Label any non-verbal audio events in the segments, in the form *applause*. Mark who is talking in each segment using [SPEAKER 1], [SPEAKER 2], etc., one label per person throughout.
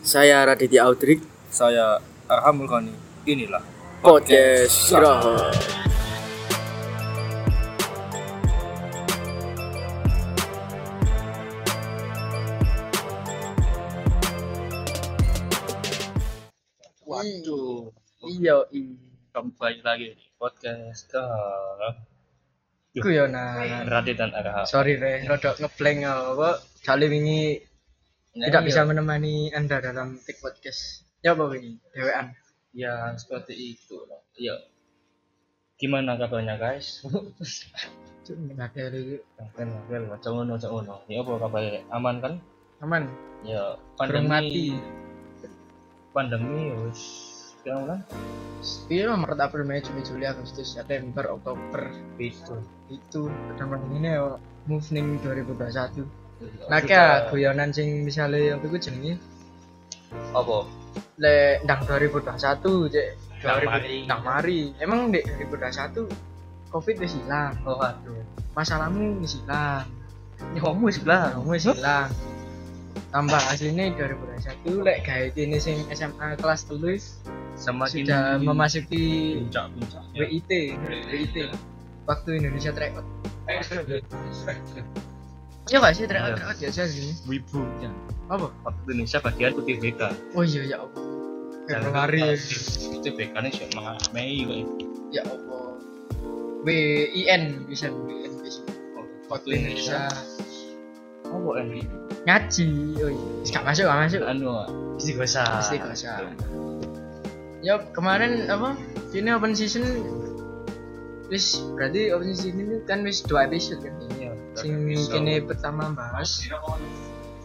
[SPEAKER 1] Saya Raditya Audrey
[SPEAKER 2] Saya Arhamul Koni. Inilah
[SPEAKER 1] Podcast Istirahat.
[SPEAKER 2] Waduh.
[SPEAKER 1] Iya, iya.
[SPEAKER 2] Kembali lagi di podcast ke
[SPEAKER 1] Iku yo nah.
[SPEAKER 2] Radit dan Arham.
[SPEAKER 1] Sorry re, rodok ngeblank apa jale wingi
[SPEAKER 2] Nah,
[SPEAKER 1] tidak
[SPEAKER 2] iya.
[SPEAKER 1] bisa menemani Anda dalam tik podcast. Ya apa wingi? Dewean.
[SPEAKER 2] Ya seperti itu. lah. Ya. Gimana kabarnya guys? *laughs*
[SPEAKER 1] Cuk, nggak ada lagi.
[SPEAKER 2] Kan kan macam ngono macam ngono. Ya apa kabar? Aman kan?
[SPEAKER 1] Aman.
[SPEAKER 2] Ya
[SPEAKER 1] Burung
[SPEAKER 2] pandemi.
[SPEAKER 1] mati.
[SPEAKER 2] Pandemi wis kan? pirang bulan?
[SPEAKER 1] Iya, Maret, April, Mei, Juni, Juli, Agustus, September, Oktober
[SPEAKER 2] Itu.
[SPEAKER 1] itu kedamaian ini ya move ning 2021 nah kayak guyonan sing misalnya apa itu jenenge
[SPEAKER 2] apa?
[SPEAKER 1] le ndang 2021 cek 2000
[SPEAKER 2] Ndang mari.
[SPEAKER 1] ndang mari emang dek 2021 covid wis hilang
[SPEAKER 2] Oh aduh.
[SPEAKER 1] masalahmu wis hilang
[SPEAKER 2] Nyawamu sebelah.
[SPEAKER 1] kamu wis hilang tambah aslinya 2021 lek gawe ini sing SMA kelas tulis
[SPEAKER 2] Semakin
[SPEAKER 1] sudah memasuki
[SPEAKER 2] puncak-puncak.
[SPEAKER 1] WIT WIT waktu Indonesia track out iya gak sih track out
[SPEAKER 2] Iya.
[SPEAKER 1] track out biasa sih
[SPEAKER 2] *laughs* Wibu ya.
[SPEAKER 1] apa
[SPEAKER 2] Waktu Indonesia bagian putih BK.
[SPEAKER 1] oh iya ya apa Februari
[SPEAKER 2] Itu BK nih cuma Mei gitu. kok.
[SPEAKER 1] ya apa WIN bisa WIN bisa waktu
[SPEAKER 2] Iya.
[SPEAKER 1] Indonesia
[SPEAKER 2] Oh, kok ini?
[SPEAKER 1] ngaji oh iya gak masuk gak masuk
[SPEAKER 2] Anu. Istiqosa.
[SPEAKER 1] Istiqosa. ya kemarin apa ini open season wis berarti open season ini kan wis dua episode kan
[SPEAKER 2] Iya.
[SPEAKER 1] sing ini pertama bahas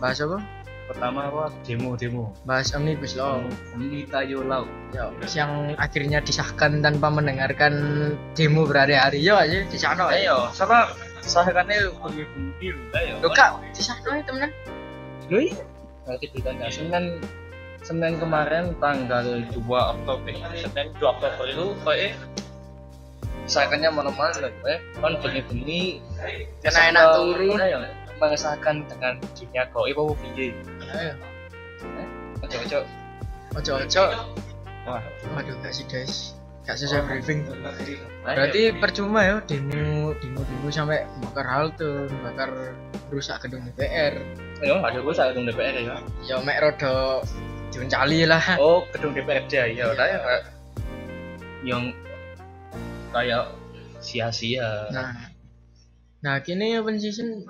[SPEAKER 1] bahas apa
[SPEAKER 2] pertama apa? Demo demo.
[SPEAKER 1] bahas omnibus law
[SPEAKER 2] Ini tayo lau.
[SPEAKER 1] ya yang akhirnya disahkan tanpa mendengarkan demo berhari-hari ya aja di sana ya
[SPEAKER 2] Ayo, sama sahkannya kudu buntil. Ayo.
[SPEAKER 1] lo kak di sana ya temenan
[SPEAKER 2] Loh, iya. Nanti beritanya Senin Senin kemarin tanggal 2 Oktober. Senin 2 Oktober itu kayak misalkannya mana-mana eh kan bengi-bengi
[SPEAKER 1] Kena enak turun.
[SPEAKER 2] ayo, mengesahkan ya, dengan dunia kau ibu piye
[SPEAKER 1] ayo
[SPEAKER 2] ojo ojo
[SPEAKER 1] ojo ojo
[SPEAKER 2] wah
[SPEAKER 1] Waduh, gak sih guys, gak sesuai briefing. Berarti percuma ya demo demo demo sampai bakar halte, bakar rusak gedung DPR.
[SPEAKER 2] ayo ada gue saya gedung DPR ya
[SPEAKER 1] Ya mek rodo diuncali lah.
[SPEAKER 2] oh gedung DPRD ya udah ya Kak. yang kayak sia-sia
[SPEAKER 1] Nah, nah kini open season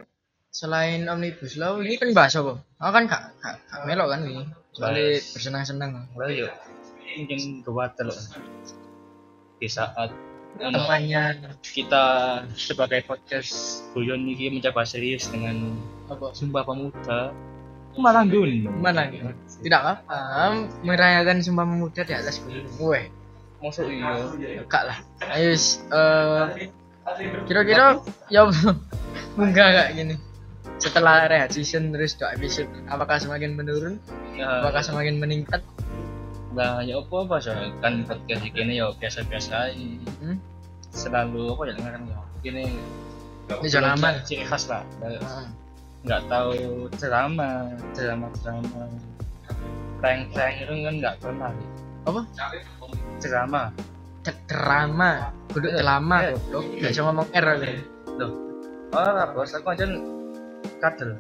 [SPEAKER 1] selain omnibus law ini kan bahas apa? Oh kan gak gak, gak melok kan ini. Soalnya
[SPEAKER 2] Bahas.
[SPEAKER 1] bersenang-senang.
[SPEAKER 2] Lah Nah, yo mungkin kewatel di saat anu,
[SPEAKER 1] Temannya
[SPEAKER 2] kita sebagai podcast guyon ini mencoba serius dengan
[SPEAKER 1] apa?
[SPEAKER 2] Sumpah Pemuda malah gun
[SPEAKER 1] Mana gitu? Tidak apa merayakan Sumpah Pemuda di atas gunung. Weh,
[SPEAKER 2] masuk iya
[SPEAKER 1] Kak lah. Ayo, wis, eh, kira-kira ya *laughs* enggak enggak gini. Setelah rehat season terus dua episode, apakah semakin menurun?
[SPEAKER 2] ya
[SPEAKER 1] Apakah semakin meningkat?
[SPEAKER 2] nah ya apa apa so kan podcast ini ya biasa-biasa ae.
[SPEAKER 1] Hmm?
[SPEAKER 2] selalu apa ya dengarkan ya ini
[SPEAKER 1] Ini zona aman.
[SPEAKER 2] ciri khas lah Nggak-
[SPEAKER 1] Ah,
[SPEAKER 2] nggak tahu drama drama drama prank prank itu kan nggak pernah
[SPEAKER 1] Apa?
[SPEAKER 2] drama
[SPEAKER 1] Cek drama, duduk drama,
[SPEAKER 2] Eh,
[SPEAKER 1] goblok. Gak bisa ngomong R aku.
[SPEAKER 2] oh lah bos aku aja kadel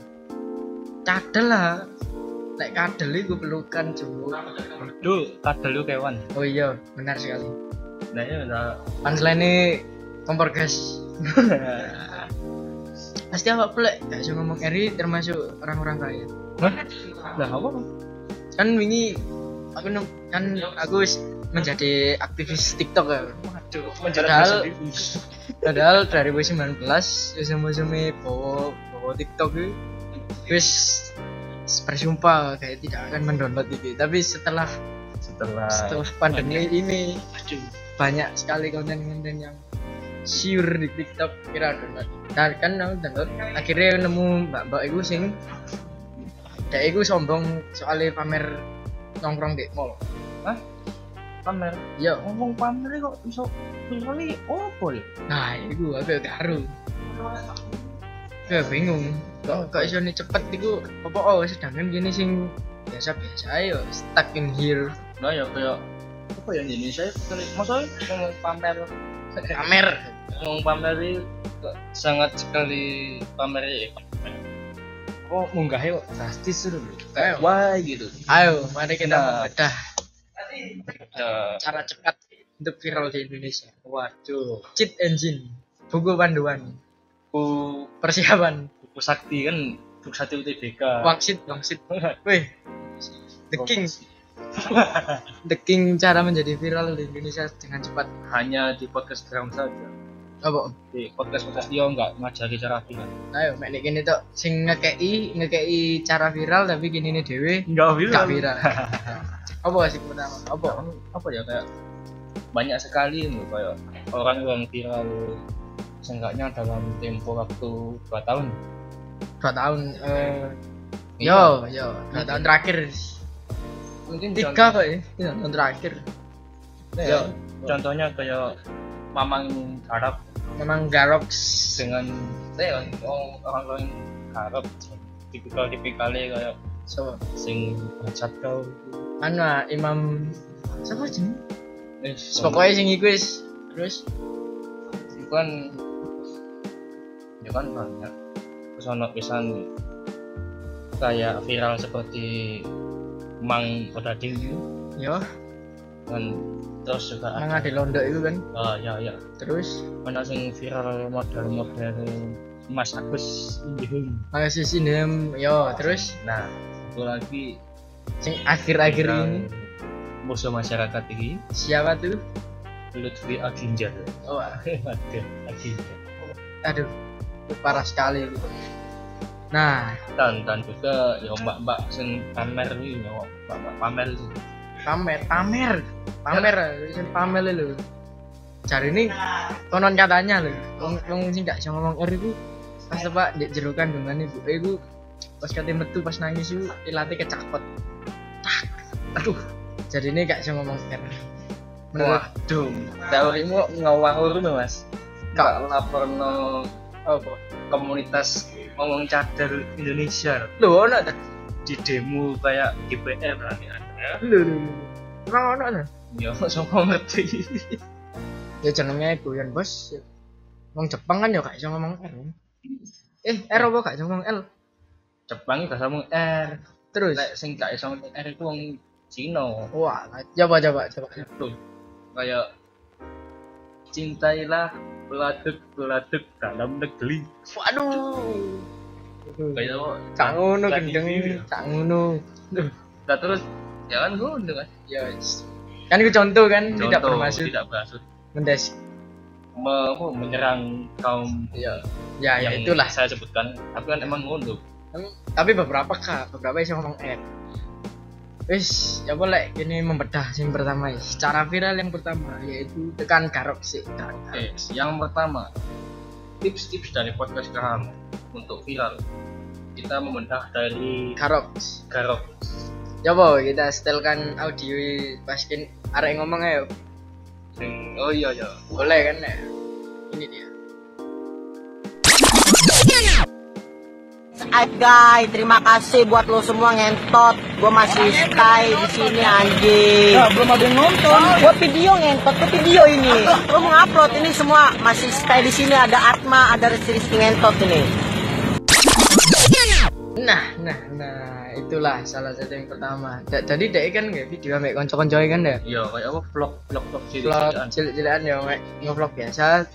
[SPEAKER 1] Kadel lah. Nek kadel iku pelukan jumbo.
[SPEAKER 2] Duh, kadel lu kewan
[SPEAKER 1] Oh iya, benar sekali.
[SPEAKER 2] nah ya udah
[SPEAKER 1] Punchline kompor gas. Pasti awak pelek gak bisa ngomong R ini termasuk orang-orang kaya.
[SPEAKER 2] Hah? Lah apa?
[SPEAKER 1] kan wingi aku nem- kan aku wis menjadi aktivis TikTok ya.
[SPEAKER 2] Waduh,
[SPEAKER 1] Padahal- Padahal 2019 wis musume bawa bawa TikTok itu wis bersumpah kayak tidak akan mendownload itu. Tapi setelah
[SPEAKER 2] Setelah
[SPEAKER 1] setelah pandemi ini
[SPEAKER 2] Aduh.
[SPEAKER 1] banyak sekali konten-konten yang siur di TikTok kira download. Nah, kan aku download akhirnya nemu mbak-mbak iku sing dek iku sombong soalnya pamer nongkrong di mall. Iya.
[SPEAKER 2] pamer
[SPEAKER 1] Yo,
[SPEAKER 2] ngomong pamer kok iso kali opo ya?
[SPEAKER 1] Nah, itu aku karo. ya Gue bingung. Kok kok iso cepet iku apa oh sedangkan gini sing biasa biasa ayo stuck in here
[SPEAKER 2] Nah ya kayak apa ya ini saya masa ngomong pamer
[SPEAKER 1] pamer
[SPEAKER 2] ngomong pamer itu kok sangat sekali pamer ya.
[SPEAKER 1] kok Oh, munggahnya kok drastis dulu ayo
[SPEAKER 2] Kayak why gitu.
[SPEAKER 1] ayo mari kita
[SPEAKER 2] Nah.
[SPEAKER 1] membedah
[SPEAKER 2] Nah,
[SPEAKER 1] cara cepat untuk viral di Indonesia
[SPEAKER 2] waduh.
[SPEAKER 1] cheat engine buku panduan
[SPEAKER 2] Ku
[SPEAKER 1] persiapan
[SPEAKER 2] buku sakti kan buku sakti UTBK.
[SPEAKER 1] wangsit wangsit *laughs* weh the king the king cara menjadi viral di Indonesia dengan cepat
[SPEAKER 2] Hanya di podcast Gram saja.
[SPEAKER 1] apa
[SPEAKER 2] Di podcast podcast dia nggak ngajari cara viral.
[SPEAKER 1] ayo mek nek gini tok sing ngekei ngekei cara viral tapi gini nih dewe
[SPEAKER 2] Nggak
[SPEAKER 1] gak *laughs* viral apa sih pertama apa
[SPEAKER 2] apa apa ya kayak banyak sekali loh kayak orang yang viral seenggaknya dalam tempo waktu dua tahun
[SPEAKER 1] dua tahun eh yo
[SPEAKER 2] Iya.
[SPEAKER 1] yo dua tahun terakhir
[SPEAKER 2] mungkin
[SPEAKER 1] tiga
[SPEAKER 2] contoh-
[SPEAKER 1] kok ya tiga tahun terakhir Iya.
[SPEAKER 2] ya, contohnya kayak mamang Arab
[SPEAKER 1] memang garox
[SPEAKER 2] dengan ya, orang orang orang Arab tipikal tipikalnya kayak
[SPEAKER 1] so
[SPEAKER 2] sing bangsat kau
[SPEAKER 1] anu ah, imam siapa sih
[SPEAKER 2] eh
[SPEAKER 1] pokoknya sing iku wis terus
[SPEAKER 2] itu kan itu kan banyak terus ono pisan kayak viral seperti Mang Odading gitu
[SPEAKER 1] yo
[SPEAKER 2] dan terus juga ada
[SPEAKER 1] nang di londo itu kan
[SPEAKER 2] Ah, ya ya
[SPEAKER 1] terus
[SPEAKER 2] mana sing viral model-model Mas Agus Indihun
[SPEAKER 1] Makasih sinem, yo Oh, terus
[SPEAKER 2] nah satu lagi
[SPEAKER 1] sing akhir-akhir
[SPEAKER 2] viral
[SPEAKER 1] ini
[SPEAKER 2] musuh masyarakat ini
[SPEAKER 1] siapa tuh?
[SPEAKER 2] Lutfi *laughs* Aginjar
[SPEAKER 1] Oh,
[SPEAKER 2] Waduh, Aginjar
[SPEAKER 1] aduh, itu parah sekali. itu. Nah,
[SPEAKER 2] dan dan juga ya mbak mbak sing pamer ini ya mbak mbak pamer itu
[SPEAKER 1] pamer, pamer, pamer, sing pamer lho. Cari ini konon katanya lho, wong wong sing gak iso ngomong er iku pas tepak ndek jero kandungan ibu eh, iku pas kate metu pas nangis iku ilate kecakot. Tak. Aduh, jadi ini gak iso ngomong er. Menurut
[SPEAKER 2] waduh teorimu ngawur no mas kak lapor no
[SPEAKER 1] apa?
[SPEAKER 2] komunitas ngomong cadar Indonesia
[SPEAKER 1] Lho, ono ta?
[SPEAKER 2] di demo kayak GPR berarti ada
[SPEAKER 1] Lho, lho, lho. Ora ono ta?
[SPEAKER 2] ya *laughs* sama ngerti
[SPEAKER 1] ya jenenge guyon bos wong Jepang kan ya gak iso ngomong R eh R apa gak iso ngomong L
[SPEAKER 2] Jepang itu sama R
[SPEAKER 1] terus
[SPEAKER 2] lek sing gak iso ngomong R itu wong Cina
[SPEAKER 1] wah coba coba coba
[SPEAKER 2] Loh, kayak cintailah peladuk peladuk dalam negeri
[SPEAKER 1] waduh
[SPEAKER 2] kayak apa
[SPEAKER 1] cak ngono
[SPEAKER 2] Lagi
[SPEAKER 1] gendeng
[SPEAKER 2] gitu ya.
[SPEAKER 1] cak ngono
[SPEAKER 2] nah terus ya kan gue udah kan
[SPEAKER 1] ya wis. kan itu contoh kan tidak
[SPEAKER 2] Contoh,
[SPEAKER 1] bermaksud
[SPEAKER 2] tidak bermaksud
[SPEAKER 1] mendes
[SPEAKER 2] me- apa, menyerang kaum
[SPEAKER 1] ya ya ya itulah
[SPEAKER 2] saya sebutkan tapi kan emang ngono
[SPEAKER 1] tapi, tapi beberapa kak beberapa iso ngomong R Wis, ya boleh ini membedah yang pertama ya. Cara viral yang pertama yaitu tekan garok sih. Tekan garok.
[SPEAKER 2] Oke, yang pertama tips-tips dari podcast kamu untuk viral. Kita membedah dari
[SPEAKER 1] Garok.
[SPEAKER 2] garok.
[SPEAKER 1] Coba Ya kita setelkan audio paskin arek ngomong ayo.
[SPEAKER 2] Sing- Oh iya iya.
[SPEAKER 1] Boleh kan ya? Ini dia.
[SPEAKER 3] Hai guys, terima kasih buat lo semua ngentot. Gue masih stay di sini anjing. Ya, belum ada nonton. Gue video ngentot, gue video ini. Lo mau upload ini semua masih stay di sini ada Atma, ada Rizky Rizky ngentot ini.
[SPEAKER 1] Nah, nah, nah, itulah salah satu yang pertama. Da- Jadi dek kan nggak video ambek konco-konco kan ya?
[SPEAKER 2] Iya kayak apa vlog vlog vlog cilik
[SPEAKER 1] Vlog cilik-cilikan ya, mek ngevlog biasa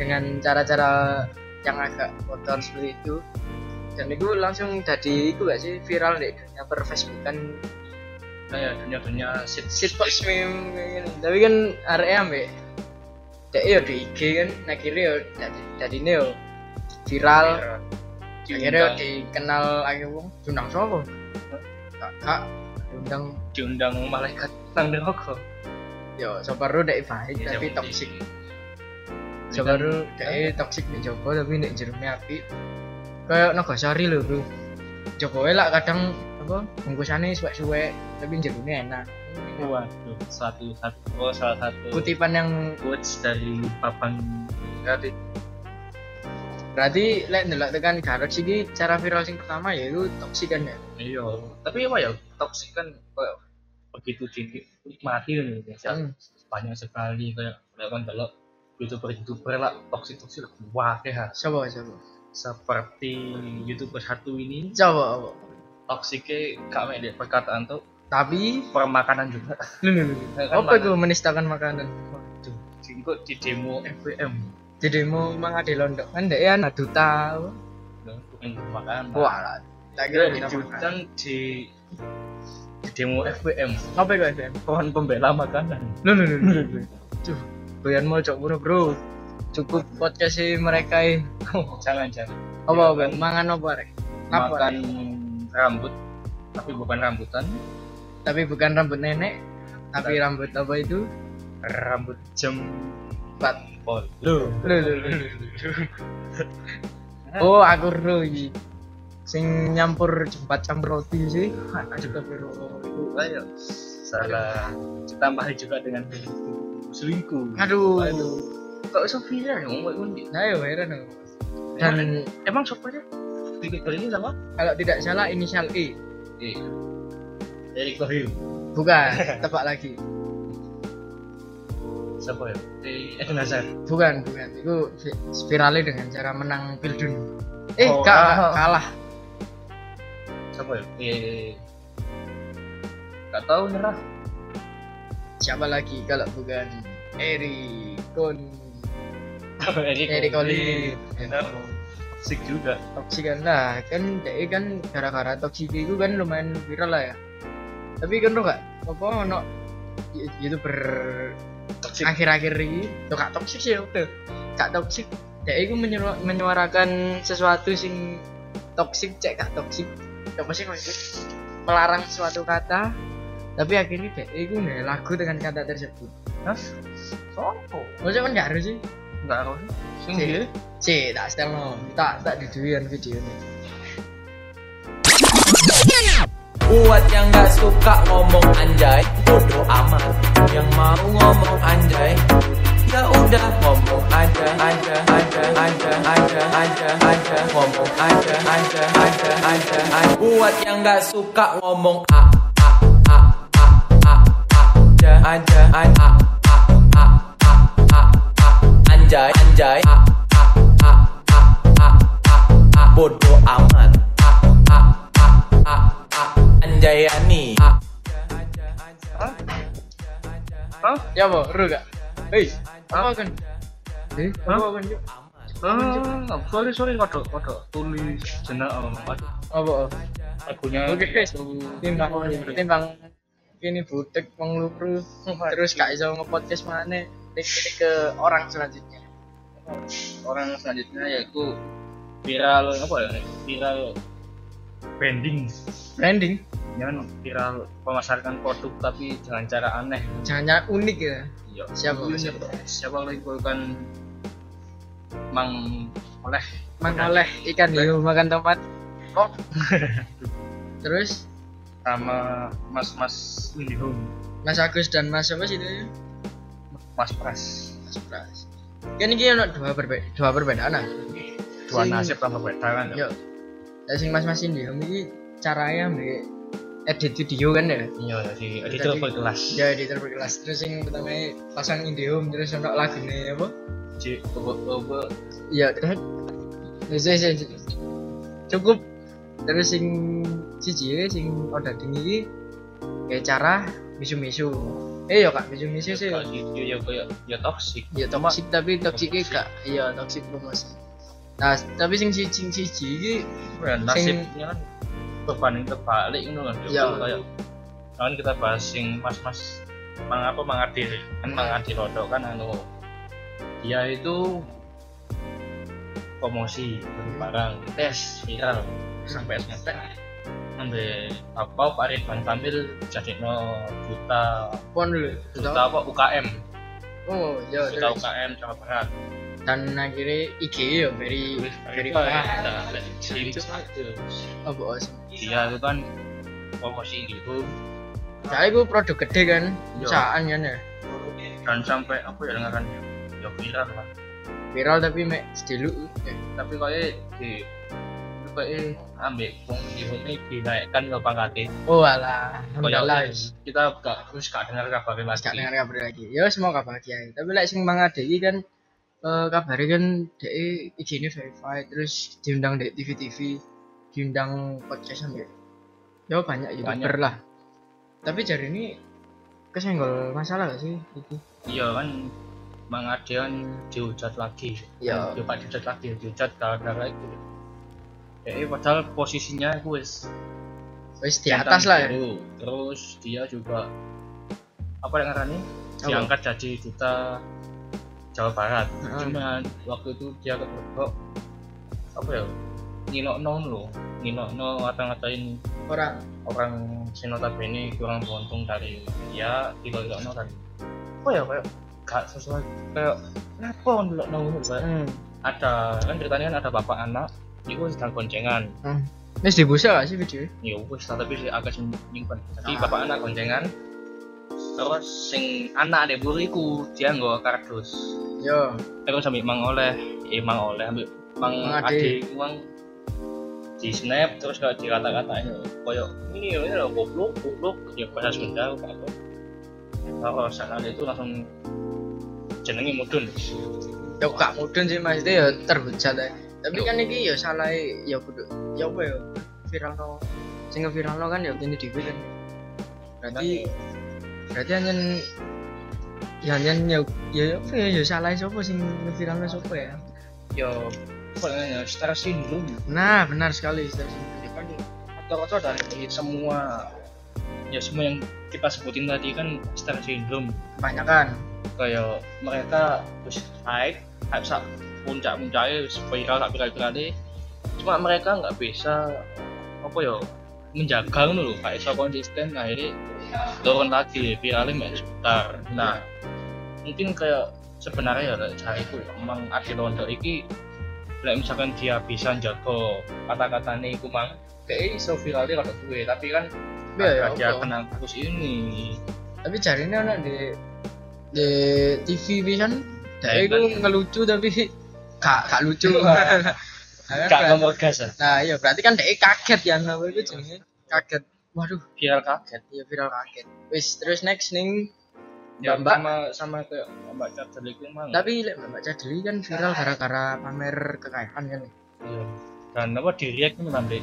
[SPEAKER 1] dengan cara-cara yang agak kotor seperti itu. Dan itu langsung jadi itu gak sih viral di dunia per Facebook kan
[SPEAKER 2] Kayak dunia dunia sit
[SPEAKER 1] shitbox meme kayak gini. tapi kan area ambek dek yo di IG kan akhirnya yo jadi ini yo viral akhirnya yo
[SPEAKER 2] diundang,
[SPEAKER 1] dikenal akhirnya wong diundang siapa kakak diundang
[SPEAKER 2] diundang malaikat sang neraka.
[SPEAKER 1] yo Subaru dek baik
[SPEAKER 2] Ya,
[SPEAKER 1] tapi
[SPEAKER 2] jauh
[SPEAKER 1] toksik
[SPEAKER 2] di-
[SPEAKER 1] Subaru
[SPEAKER 2] Iya.
[SPEAKER 1] dek toksik nih Joko tapi nek jerumnya api kayak Nagasari lho bro Jokowi lah kadang apa bungkusannya suwek-suwek tapi jerumnya enak
[SPEAKER 2] Waduh, satu satu oh salah satu
[SPEAKER 1] kutipan yang
[SPEAKER 2] quotes dari Papang Kreatif.
[SPEAKER 1] berarti lek ndelok tekan Garut iki cara viral sing pertama yaiku toksik kan ya.
[SPEAKER 2] iya tapi apa ya toksik kan kayak begitu dinikmati nih biasa
[SPEAKER 1] Hmm.
[SPEAKER 2] ya. banyak sekali kayak kayak kan delok youtuber youtuber lah toksik toksik lah wah kayak
[SPEAKER 1] Coba coba.
[SPEAKER 2] seperti youtuber satu ini
[SPEAKER 1] Coba. coba.
[SPEAKER 2] toksiknya gak main perkataan tuh
[SPEAKER 1] Tapi
[SPEAKER 2] permakanan juga *laughs*
[SPEAKER 1] lu lu. lu.
[SPEAKER 2] Kan
[SPEAKER 1] Apa
[SPEAKER 2] mana?
[SPEAKER 1] itu menistakan makanan?
[SPEAKER 2] Waduh, itu di demo eh, FBM
[SPEAKER 1] Jadi mau mengade londo kan dek ya naduta.
[SPEAKER 2] bukan makanan
[SPEAKER 1] Wah lah. Tak kira kita
[SPEAKER 2] Kira
[SPEAKER 1] makan.
[SPEAKER 2] diundang di di demo FBM
[SPEAKER 1] Apa itu FM?
[SPEAKER 2] pohon pembela makanan *laughs*
[SPEAKER 1] Lu lu lu. lu. Duh, doyan mau cok ngono, bro. Cukup podcast sih mereka eh.
[SPEAKER 2] jangan jangan
[SPEAKER 1] Apa apa
[SPEAKER 2] Makan-
[SPEAKER 1] mangan apa rek? Apa,
[SPEAKER 2] Iya, kan? makan
[SPEAKER 1] Rek?
[SPEAKER 2] rambut tapi bukan rambutan
[SPEAKER 1] Tapi bukan rambut nenek, tapi rambut apa itu?
[SPEAKER 2] rambut jam
[SPEAKER 1] Bat.
[SPEAKER 2] pol lu
[SPEAKER 1] Lu lu lu. Oh, aku ro iki. Sing nyampur jembat campur roti sih. Aduh, tapi ro.
[SPEAKER 2] ayo salah ditambahin juga dengan selingkuh
[SPEAKER 1] Aduh.
[SPEAKER 2] Aduh. kok sopirnya yang ngomong undi
[SPEAKER 1] Nah, ya heran aku. Dan
[SPEAKER 2] emang ya? sopirnya tiga ini sama
[SPEAKER 1] kalau tidak salah inisial E.
[SPEAKER 2] eh Erick Thohir
[SPEAKER 1] Bukan,
[SPEAKER 2] *laughs*
[SPEAKER 1] tebak lagi.
[SPEAKER 2] siapa ya eh Eden Hazard
[SPEAKER 1] Bukan, bukan. Itu vi- viralnya dengan cara menang Pildun. Eh,
[SPEAKER 2] Oh,
[SPEAKER 1] ka-
[SPEAKER 2] ah.
[SPEAKER 1] kalah.
[SPEAKER 2] siapa ya eh gak tahu nyerah
[SPEAKER 1] Siapa lagi kalau bukan Eri Kon
[SPEAKER 2] Erick
[SPEAKER 1] Erick
[SPEAKER 2] Thohir.
[SPEAKER 1] Thohir.
[SPEAKER 2] Benar. Toxic juga
[SPEAKER 1] toksik kan lah kan dia kan gara-gara toksik itu kan lumayan viral lah ya tapi kan lo gak apa ono y- youtuber
[SPEAKER 2] toxic
[SPEAKER 1] akhir-akhir ini lo gak toksik sih oke gak toksik dia itu menyuara- menyuarakan sesuatu sing toksik cek gak toksik apa sih maksudnya melarang suatu kata tapi akhirnya dia itu nggak lagu dengan kata tersebut
[SPEAKER 2] Hah? Sopo?
[SPEAKER 1] maksudnya kan gak harus sih
[SPEAKER 2] Enggak tahu. Sing
[SPEAKER 1] Sih.
[SPEAKER 2] dia
[SPEAKER 1] Cek, tak setel no. Tak, tak diduian video ini.
[SPEAKER 4] Buat yang gak suka ngomong anjay Bodoh amat Yang mau ngomong anjay Ya udah ngomong aja Aja, aja, aja, aja, aja, aja Ngomong aja, aja, aja, aja, aja. Buat yang gak suka ngomong a a a a a a aja aja a a a a a a a anjay anjay a a a a a a a bodoh amat a a a a a anjayani a
[SPEAKER 2] Hah?
[SPEAKER 1] Ya apa? Ru gak? Hei, apa kan? Eh,
[SPEAKER 2] Hah?
[SPEAKER 1] apa kan? Cuk?
[SPEAKER 2] Ah, sorry sorry waduh waduh tulis jenak oh, waduh
[SPEAKER 1] Apa?
[SPEAKER 2] lagunya
[SPEAKER 1] Oke guys, timbang timbang ini butek wong luru terus gak iso nge-podcast mana tik ke orang selanjutnya.
[SPEAKER 2] orang selanjutnya yaitu viral apa ya viral branding
[SPEAKER 1] Branding
[SPEAKER 2] jangan viral memasarkan produk tapi dengan cara aneh
[SPEAKER 1] jangan unik ya.
[SPEAKER 2] iya
[SPEAKER 1] Siapa?
[SPEAKER 2] Dulu
[SPEAKER 1] Siapa?
[SPEAKER 2] siapa mengumpulkan mang oleh Oh,
[SPEAKER 1] Mengoleh ikan hiu Nah. Iya, makan tempat. Kok? terus
[SPEAKER 2] sama mas mas Indihome
[SPEAKER 1] Mas Agus dan Mas siapa sih itu?
[SPEAKER 2] mas pras
[SPEAKER 1] Mas Pras. Kan ini ada dua berbeda dua perbedaan ah.
[SPEAKER 2] dua
[SPEAKER 1] Sing-
[SPEAKER 2] nasib tambah beda kan
[SPEAKER 1] Yo. Lah sing mas-mas ini om iki caranya mbek edit video kan ya.
[SPEAKER 2] iya jadi
[SPEAKER 1] editor
[SPEAKER 2] editor berkelas
[SPEAKER 1] Ya editor berkelas terus sing pertama pasang Indihome terus ono lagune apa?
[SPEAKER 2] jadi obo Iya,
[SPEAKER 1] Ya terus wis wis wis. Cukup terus sing siji sing order tinggi iki ya cara misu-misu. Eh yo Kak, misu-misu sih.
[SPEAKER 2] Kalau gitu ya kayak ya toxic
[SPEAKER 1] Ya toksik tapi toksik gak iya toksik promosi. Nah, tapi sing siji sing siji iki
[SPEAKER 2] ya, nasibnya kan berbanding terbalik gitu kan
[SPEAKER 1] Iya.
[SPEAKER 2] ya. kayak kan kita bahas sing mas mas mang apa mang Adil kan mang Adil Rodo kan anu dia itu promosi beli barang tes viral sampai SMT ambil apa Pak Ridwan Kamil jadi no juta
[SPEAKER 1] pon dulu.
[SPEAKER 2] juta apa UKM
[SPEAKER 1] Oh, ya
[SPEAKER 2] juta
[SPEAKER 1] terus.
[SPEAKER 2] UKM Jawa Barat
[SPEAKER 1] dan akhirnya IG ya dari dari apa
[SPEAKER 2] Nah, itu satu.
[SPEAKER 1] apa sih
[SPEAKER 2] dia itu kan promosi gitu
[SPEAKER 1] saya itu produk gede kan
[SPEAKER 2] Iya.
[SPEAKER 1] perusahaan kan ya
[SPEAKER 2] dan sampai apa ya dengarkan ya viral lah
[SPEAKER 1] viral tapi mek sedelu
[SPEAKER 2] tapi kayak di kayak ambek wong ini dinaikkan ke pangkatnya
[SPEAKER 1] oh alah
[SPEAKER 2] Kayak
[SPEAKER 1] alhamdulillah wis.
[SPEAKER 2] kita gak terus gak dengar kabarnya lagi
[SPEAKER 1] gak dengar kabar lagi ya semua kabar lagi ae. tapi lek sing mangan dek iki kan eh kabare kan dek ijine verified terus diundang dek TV TV diundang podcast sampe ya banyak youtuber
[SPEAKER 2] Banyak.
[SPEAKER 1] lah tapi jari ini kesenggol masalah gak sih itu
[SPEAKER 2] iya kan Bang Ade kan dihujat lagi
[SPEAKER 1] Iya.
[SPEAKER 2] Kan juga dihujat lagi dihujat gara-gara itu jadi padahal posisinya itu wis
[SPEAKER 1] wis di atas lah ya
[SPEAKER 2] Dulu. terus dia juga apa yang ngarani
[SPEAKER 1] Apa?
[SPEAKER 2] diangkat jadi duta Jawa Barat
[SPEAKER 1] Heeh.
[SPEAKER 2] cuman waktu itu dia kepergok apa ya ngilokno lho ngilokno ngata-ngatain
[SPEAKER 1] orang
[SPEAKER 2] orang sinotabene kurang beruntung dari ya dilolokno kan oh ya kayak gak sesuai kayak kenapa dilolokno kayak
[SPEAKER 1] hmm.
[SPEAKER 2] ada kan ceritanya kan ada bapak anak itu sedang goncengan
[SPEAKER 1] Hmm. Wis dibusa gak sih video
[SPEAKER 2] ya wis lah, tapi sih agak sing nyimpen jadi
[SPEAKER 1] Ah.
[SPEAKER 2] bapak anak goncengan terus sing anak adek buriku dia nggawa kardus
[SPEAKER 1] yo
[SPEAKER 2] terus sambil mang oleh eh mang oleh ambil mang
[SPEAKER 1] Mang Ade.
[SPEAKER 2] ade uang di snap terus kalau dikata-katain koyo ini ya, ini loh goblok goblok ya
[SPEAKER 1] Hmm.
[SPEAKER 2] bahasa Sunda apa apa kalau saat itu langsung jenengi mudun
[SPEAKER 1] yo gak mudun sih mas itu ya terhujat ae. tapi
[SPEAKER 2] Yo.
[SPEAKER 1] kan ini ya salah ya kudu ya apa ya viral no sing viral kan ya ini dhewe kan berarti berarti hanya ya hanya ya ya apa ya ya salah siapa sing viral siapa ya
[SPEAKER 2] yo apa namanya secara sindrom
[SPEAKER 1] nah benar sekali Ustaz.
[SPEAKER 2] ya kan kata-kata dari semua ya semua yang kita sebutin tadi kan secara sindrom
[SPEAKER 1] kebanyakan
[SPEAKER 2] kayak mereka terus naik naik sak puncak puncaknya viral tak viral viral cuma mereka nggak bisa apa ya menjaga dulu kayak so konsisten akhirnya turun lagi viralnya nggak sebentar nah mungkin kayak sebenarnya ya lek cariku ya, emang ada londo iki lek misalkan dia bisa jago kata-kata nih kumang kayak iso viralnya kalau gue tapi kan
[SPEAKER 1] Iya, ya,
[SPEAKER 2] karena dia
[SPEAKER 1] apa?
[SPEAKER 2] kenal kasus ini
[SPEAKER 1] tapi jari ini anak di di TV pisan
[SPEAKER 2] Ya,
[SPEAKER 1] dari itu
[SPEAKER 2] kan.
[SPEAKER 1] ngelucu tapi *laughs* gak gak lucu
[SPEAKER 2] gak nomor gas ya.
[SPEAKER 1] Nah, iya berarti kan dhek kaget ya apa itu jenenge? Kaget. Waduh,
[SPEAKER 2] viral kaget
[SPEAKER 1] ya viral kaget. Wis, terus next ning
[SPEAKER 2] ya,
[SPEAKER 1] Mbak-mbak.
[SPEAKER 2] sama sama kayak mbak Cadel itu emang
[SPEAKER 1] tapi lek Mbak Cadeli kan viral gara-gara pamer kekayaan kan.
[SPEAKER 2] Iya. dan apa di Riak itu sampai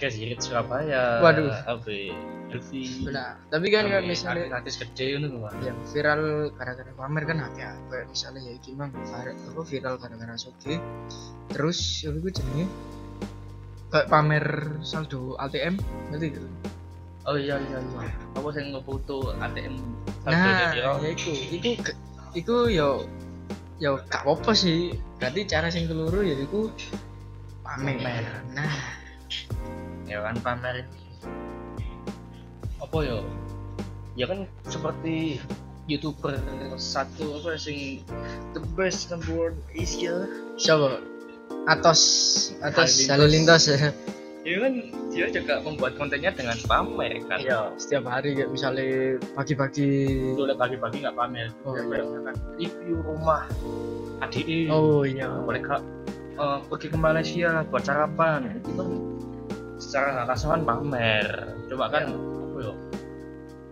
[SPEAKER 2] kayak Zirit Surabaya
[SPEAKER 1] Waduh.
[SPEAKER 2] sampai Elvi
[SPEAKER 1] Nah, tapi
[SPEAKER 2] Iya,
[SPEAKER 1] kan kayak misalnya
[SPEAKER 2] artis gede itu kan
[SPEAKER 1] yang viral gara-gara pamer kan ada kayak misalnya ya iki mang var- apa viral gara-gara soge. Terus apa gue jenenge? Kayak pamer saldo ATM ngerti gitu.
[SPEAKER 2] oh iya iya iya apa saya ngefoto ATM
[SPEAKER 1] Nah,
[SPEAKER 2] dia
[SPEAKER 1] ya iku, iku ke- iku yo yo gak apa sih. Berarti cara sing keluru ya iku pamer.
[SPEAKER 2] Pamer.
[SPEAKER 1] Nah,
[SPEAKER 2] ya kan pamer ini. apa ya ya kan seperti youtuber satu apa sing the best in the world Asia
[SPEAKER 1] coba atos atos halilintas
[SPEAKER 2] Halilintas.
[SPEAKER 1] ya.
[SPEAKER 2] ya kan dia juga membuat kontennya dengan pamer kan
[SPEAKER 1] *laughs* Setiap hari kayak misalnya pagi-pagi
[SPEAKER 2] itu udah pagi-pagi nggak pamer
[SPEAKER 1] Oh,
[SPEAKER 2] Ya,
[SPEAKER 1] iya.
[SPEAKER 2] kayak misalkan review rumah adik
[SPEAKER 1] Oh iya.
[SPEAKER 2] mereka eh, pergi ke Malaysia buat sarapan itu kan secara nggak kasuhan pamer coba kan apa ya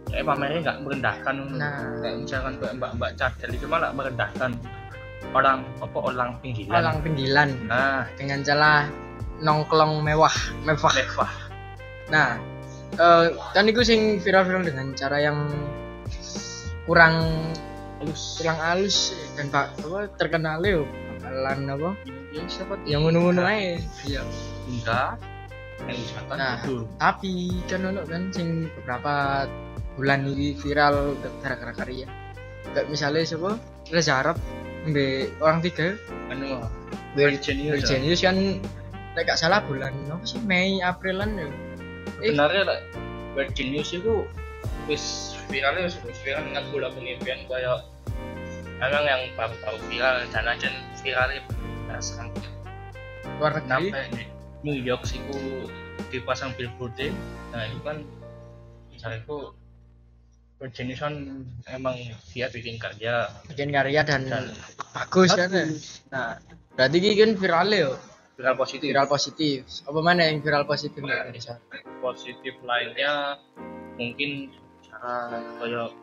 [SPEAKER 2] kayak pamernya nggak merendahkan
[SPEAKER 1] Nah.
[SPEAKER 2] kayak misalkan kayak mbak-mbak cadel itu malah merendahkan orang apa orang pinggiran
[SPEAKER 1] Orang pinggilan
[SPEAKER 2] nah
[SPEAKER 1] dengan celah nongklong mewah, mewah.
[SPEAKER 2] lewah
[SPEAKER 1] Nah, eh kan iku sing viral-viral dengan cara yang kurang
[SPEAKER 2] terus
[SPEAKER 1] kurang halus dan pak apa terkenal yo bakalan apa
[SPEAKER 2] ya seperti
[SPEAKER 1] yang ngono-ngono ae iya
[SPEAKER 2] enggak yang wisata
[SPEAKER 1] Nah.
[SPEAKER 2] itu
[SPEAKER 1] tapi kan ono kan sing beberapa bulan ini viral gara-gara karya kayak misalnya siapa Reza Arab ambe orang tiga
[SPEAKER 2] anu
[SPEAKER 1] Virgin
[SPEAKER 2] Virginia
[SPEAKER 1] Virgin News kan nek gak salah bulan apa sih Mei Aprilan ya Eh.
[SPEAKER 2] sebenarnya lah Virgin News itu wis viralnya wis wis viral dengan bola pemimpin kayak emang yang baru-baru viral dan aja viralnya benar sampai
[SPEAKER 1] luar negeri
[SPEAKER 2] sampai New York sih e. ku dipasang billboard nah itu kan misalnya ku Jenison emang dia bikin kerja
[SPEAKER 1] bikin karya dan,
[SPEAKER 2] Dan-
[SPEAKER 1] bagus kan ya? nah berarti ini kan viral ya
[SPEAKER 2] viral positif
[SPEAKER 1] viral positif apa mana yang viral positif di Indonesia
[SPEAKER 2] positif lainnya mungkin cara kayak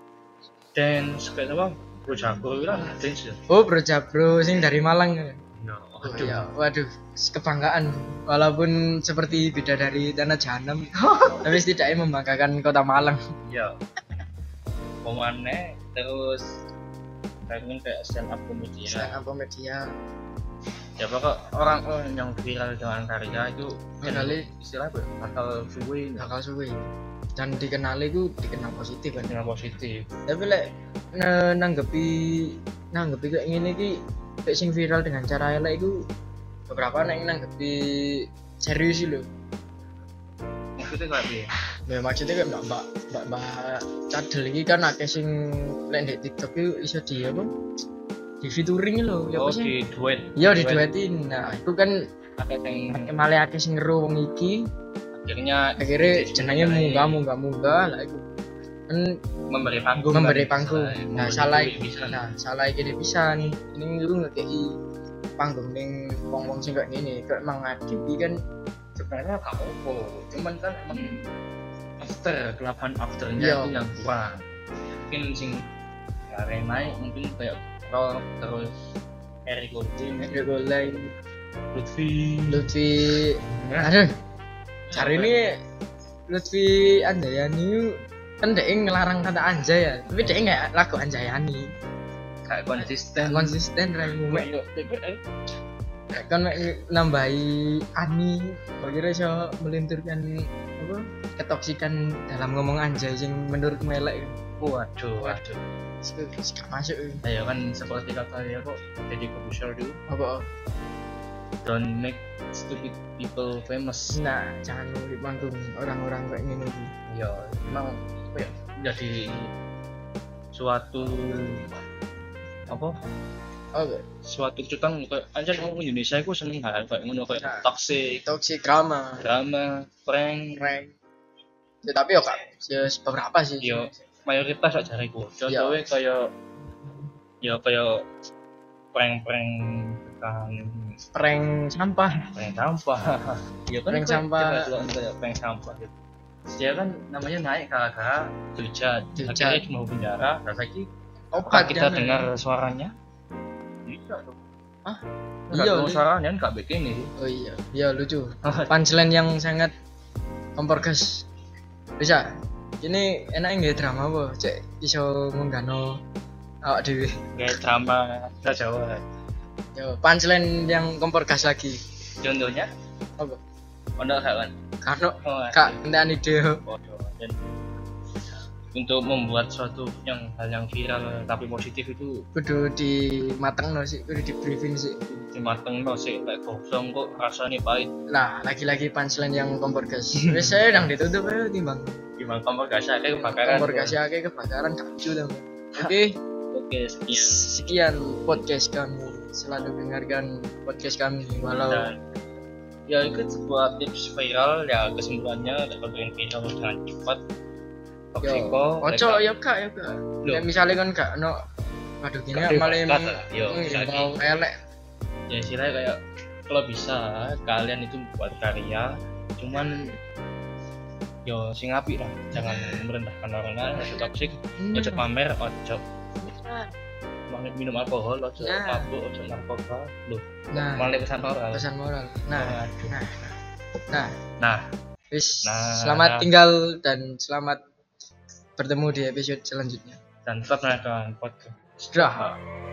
[SPEAKER 2] dance kayak apa Bojago itu lah dance ya
[SPEAKER 1] oh bro jabro sing dari Malang ya?
[SPEAKER 2] no Iya.
[SPEAKER 1] ya, waduh kebanggaan walaupun seperti beda dari tanah jahanam tapi setidaknya membanggakan kota Malang
[SPEAKER 2] ya pemane terus pengen kayak stand up comedy
[SPEAKER 1] stand
[SPEAKER 2] ya
[SPEAKER 1] up media
[SPEAKER 2] ya pokok orang orang yang viral dengan karya itu
[SPEAKER 1] Viralnya-
[SPEAKER 2] istilah apa ya? bakal suwe nah.
[SPEAKER 1] bakal suwe dan dikenali ku dikenal positif kan
[SPEAKER 2] dengan positif
[SPEAKER 1] tapi lek ne- nanggepi nanggepi kayak gini ki kayak sing viral dengan cara elek itu beberapa neng nanggepi serius sih lho
[SPEAKER 2] maksudnya kayak ya? gini
[SPEAKER 1] Nah, maksudnya kayak mbak mbak mbak mbak cadel ini kan akeh sing lek di TikTok itu iso di apa di featuring lho ya
[SPEAKER 2] oh
[SPEAKER 1] apa sih
[SPEAKER 2] di duet
[SPEAKER 1] Iya diduetin. Nah, itu kan
[SPEAKER 2] ada yang
[SPEAKER 1] malah akeh sing ngeru wong iki. Nah,
[SPEAKER 2] akhirnya
[SPEAKER 1] Akhirnya jenenge munggah munggah munggah lah iku. Kan
[SPEAKER 2] memberi panggung
[SPEAKER 1] memberi
[SPEAKER 2] kan?
[SPEAKER 1] panggung.
[SPEAKER 2] Misalnya,
[SPEAKER 1] Nah,
[SPEAKER 2] memberi
[SPEAKER 1] salah
[SPEAKER 2] duit bisa.
[SPEAKER 1] nah salah iki dhewe pisan. Ning lu ngekeki panggung ning wong-wong sing kayak ngene. Kayak emang akeh iki kan
[SPEAKER 2] sebenarnya nggak apa cuman kan emang after kelapan afternya
[SPEAKER 1] Iya.
[SPEAKER 2] itu yang kurang mungkin sing kare naik mungkin kayak Rob terus Eric Gordon
[SPEAKER 1] ada golai
[SPEAKER 2] Lutfi
[SPEAKER 1] Lutfi.
[SPEAKER 2] Nah,
[SPEAKER 1] Aduh. Cari ini Lutfi Andayani itu kan dia ngelarang kata anjay ya tapi dia nggak lagu anjayani
[SPEAKER 2] kayak konsisten
[SPEAKER 1] konsisten rai mumek
[SPEAKER 2] Kayak- kayak-
[SPEAKER 1] kan mek nambahi ani kira iso melinturkan apa ketoksikan dalam ngomong anjay sing menurut melek
[SPEAKER 2] waduh waduh
[SPEAKER 1] Iku gak masuk ya. iku.
[SPEAKER 2] ayo kan seperti kata ya kok jadi publisher dulu
[SPEAKER 1] apa
[SPEAKER 2] don't make stupid people famous
[SPEAKER 1] nah jangan mau di panggung orang-orang kayak gini iki.
[SPEAKER 2] ya emang apa ya jadi suatu apa
[SPEAKER 1] oke
[SPEAKER 2] suatu cutang kayak anjir orang Indonesia itu seneng hal kayak ngono kayak
[SPEAKER 1] Nah.
[SPEAKER 2] toxic
[SPEAKER 1] toxic drama
[SPEAKER 2] drama prank
[SPEAKER 1] rank ya, tapi yo kak ya beberapa sih
[SPEAKER 2] yo mayoritas sak jariku contohnya kayak ya kayak prank-prank tentang
[SPEAKER 1] prank sampah
[SPEAKER 2] prank sampah ya kan
[SPEAKER 1] Prank
[SPEAKER 2] kayak-
[SPEAKER 1] sampah.
[SPEAKER 2] coba dulu kayak prank sampah gitu dia kan namanya naik gara-gara dujat
[SPEAKER 1] Dujat.
[SPEAKER 2] akhirnya cuma penjara rasa ki apa
[SPEAKER 1] obat
[SPEAKER 2] kita
[SPEAKER 1] ya,
[SPEAKER 2] dengar suaranya iya dong
[SPEAKER 1] Hah?
[SPEAKER 2] Nggak
[SPEAKER 1] Iya,
[SPEAKER 2] tahu
[SPEAKER 1] Li.
[SPEAKER 2] suaranya nggak begini
[SPEAKER 1] oh iya iya lucu punchline yang sangat komporgas bisa ini enak nggak ya drama apa cek iso ngunggano awak dewi
[SPEAKER 2] *laughs* kayak drama kita Jawa
[SPEAKER 1] yo punchline yang komporgas lagi
[SPEAKER 2] contohnya
[SPEAKER 1] apa
[SPEAKER 2] pondok kawan
[SPEAKER 1] kano
[SPEAKER 2] oh,
[SPEAKER 1] kak entean ide
[SPEAKER 2] pondok dan untuk membuat suatu yang hal yang viral tapi positif itu
[SPEAKER 1] kudu di mateng no sih kudu di briefing sih
[SPEAKER 2] dimateng no sih kayak gosong kok rasanya pahit
[SPEAKER 1] lah lagi-lagi punchline yang komporgas wis saya yang ditutup ayo timbang
[SPEAKER 2] gimana kamu gak sadar kebakaran
[SPEAKER 1] komporgas ya kayak kebakaran kacau dong oke
[SPEAKER 2] oke sekian
[SPEAKER 1] sekian podcast kami selalu dengarkan podcast kami walau
[SPEAKER 2] dan ya itu sebuah tips viral ya kesimpulannya dapat bikin viral dengan cepat toksiko
[SPEAKER 1] Yo, ojo
[SPEAKER 2] mereka-
[SPEAKER 1] yo kak yo kak.
[SPEAKER 2] Loh.
[SPEAKER 1] Nek misale kan, kon gak ono waduh gini
[SPEAKER 2] Gak
[SPEAKER 1] ya, malah
[SPEAKER 2] dibakat
[SPEAKER 1] emang
[SPEAKER 2] lah, yo,
[SPEAKER 1] emang
[SPEAKER 2] jadi.
[SPEAKER 1] mau elek.
[SPEAKER 2] ya istilahnya kayak kalau bisa kalian itu buat karya cuman yo sing apik lah jangan merendahkan orang lain ojo toksik
[SPEAKER 1] Hmm.
[SPEAKER 2] ojo pamer ojo mau minum alkohol ojo
[SPEAKER 1] Nah.
[SPEAKER 2] mabuk ojo narkoba loh
[SPEAKER 1] Nah,
[SPEAKER 2] malah kesan moral
[SPEAKER 1] pesan moral. Nah,
[SPEAKER 2] Aduh.
[SPEAKER 1] nah. Nah,
[SPEAKER 2] nah
[SPEAKER 1] wis
[SPEAKER 2] Nah.
[SPEAKER 1] selamat tinggal dan selamat bertemu di episode selanjutnya.
[SPEAKER 2] dan tetap melakukan podcast
[SPEAKER 1] Sudah.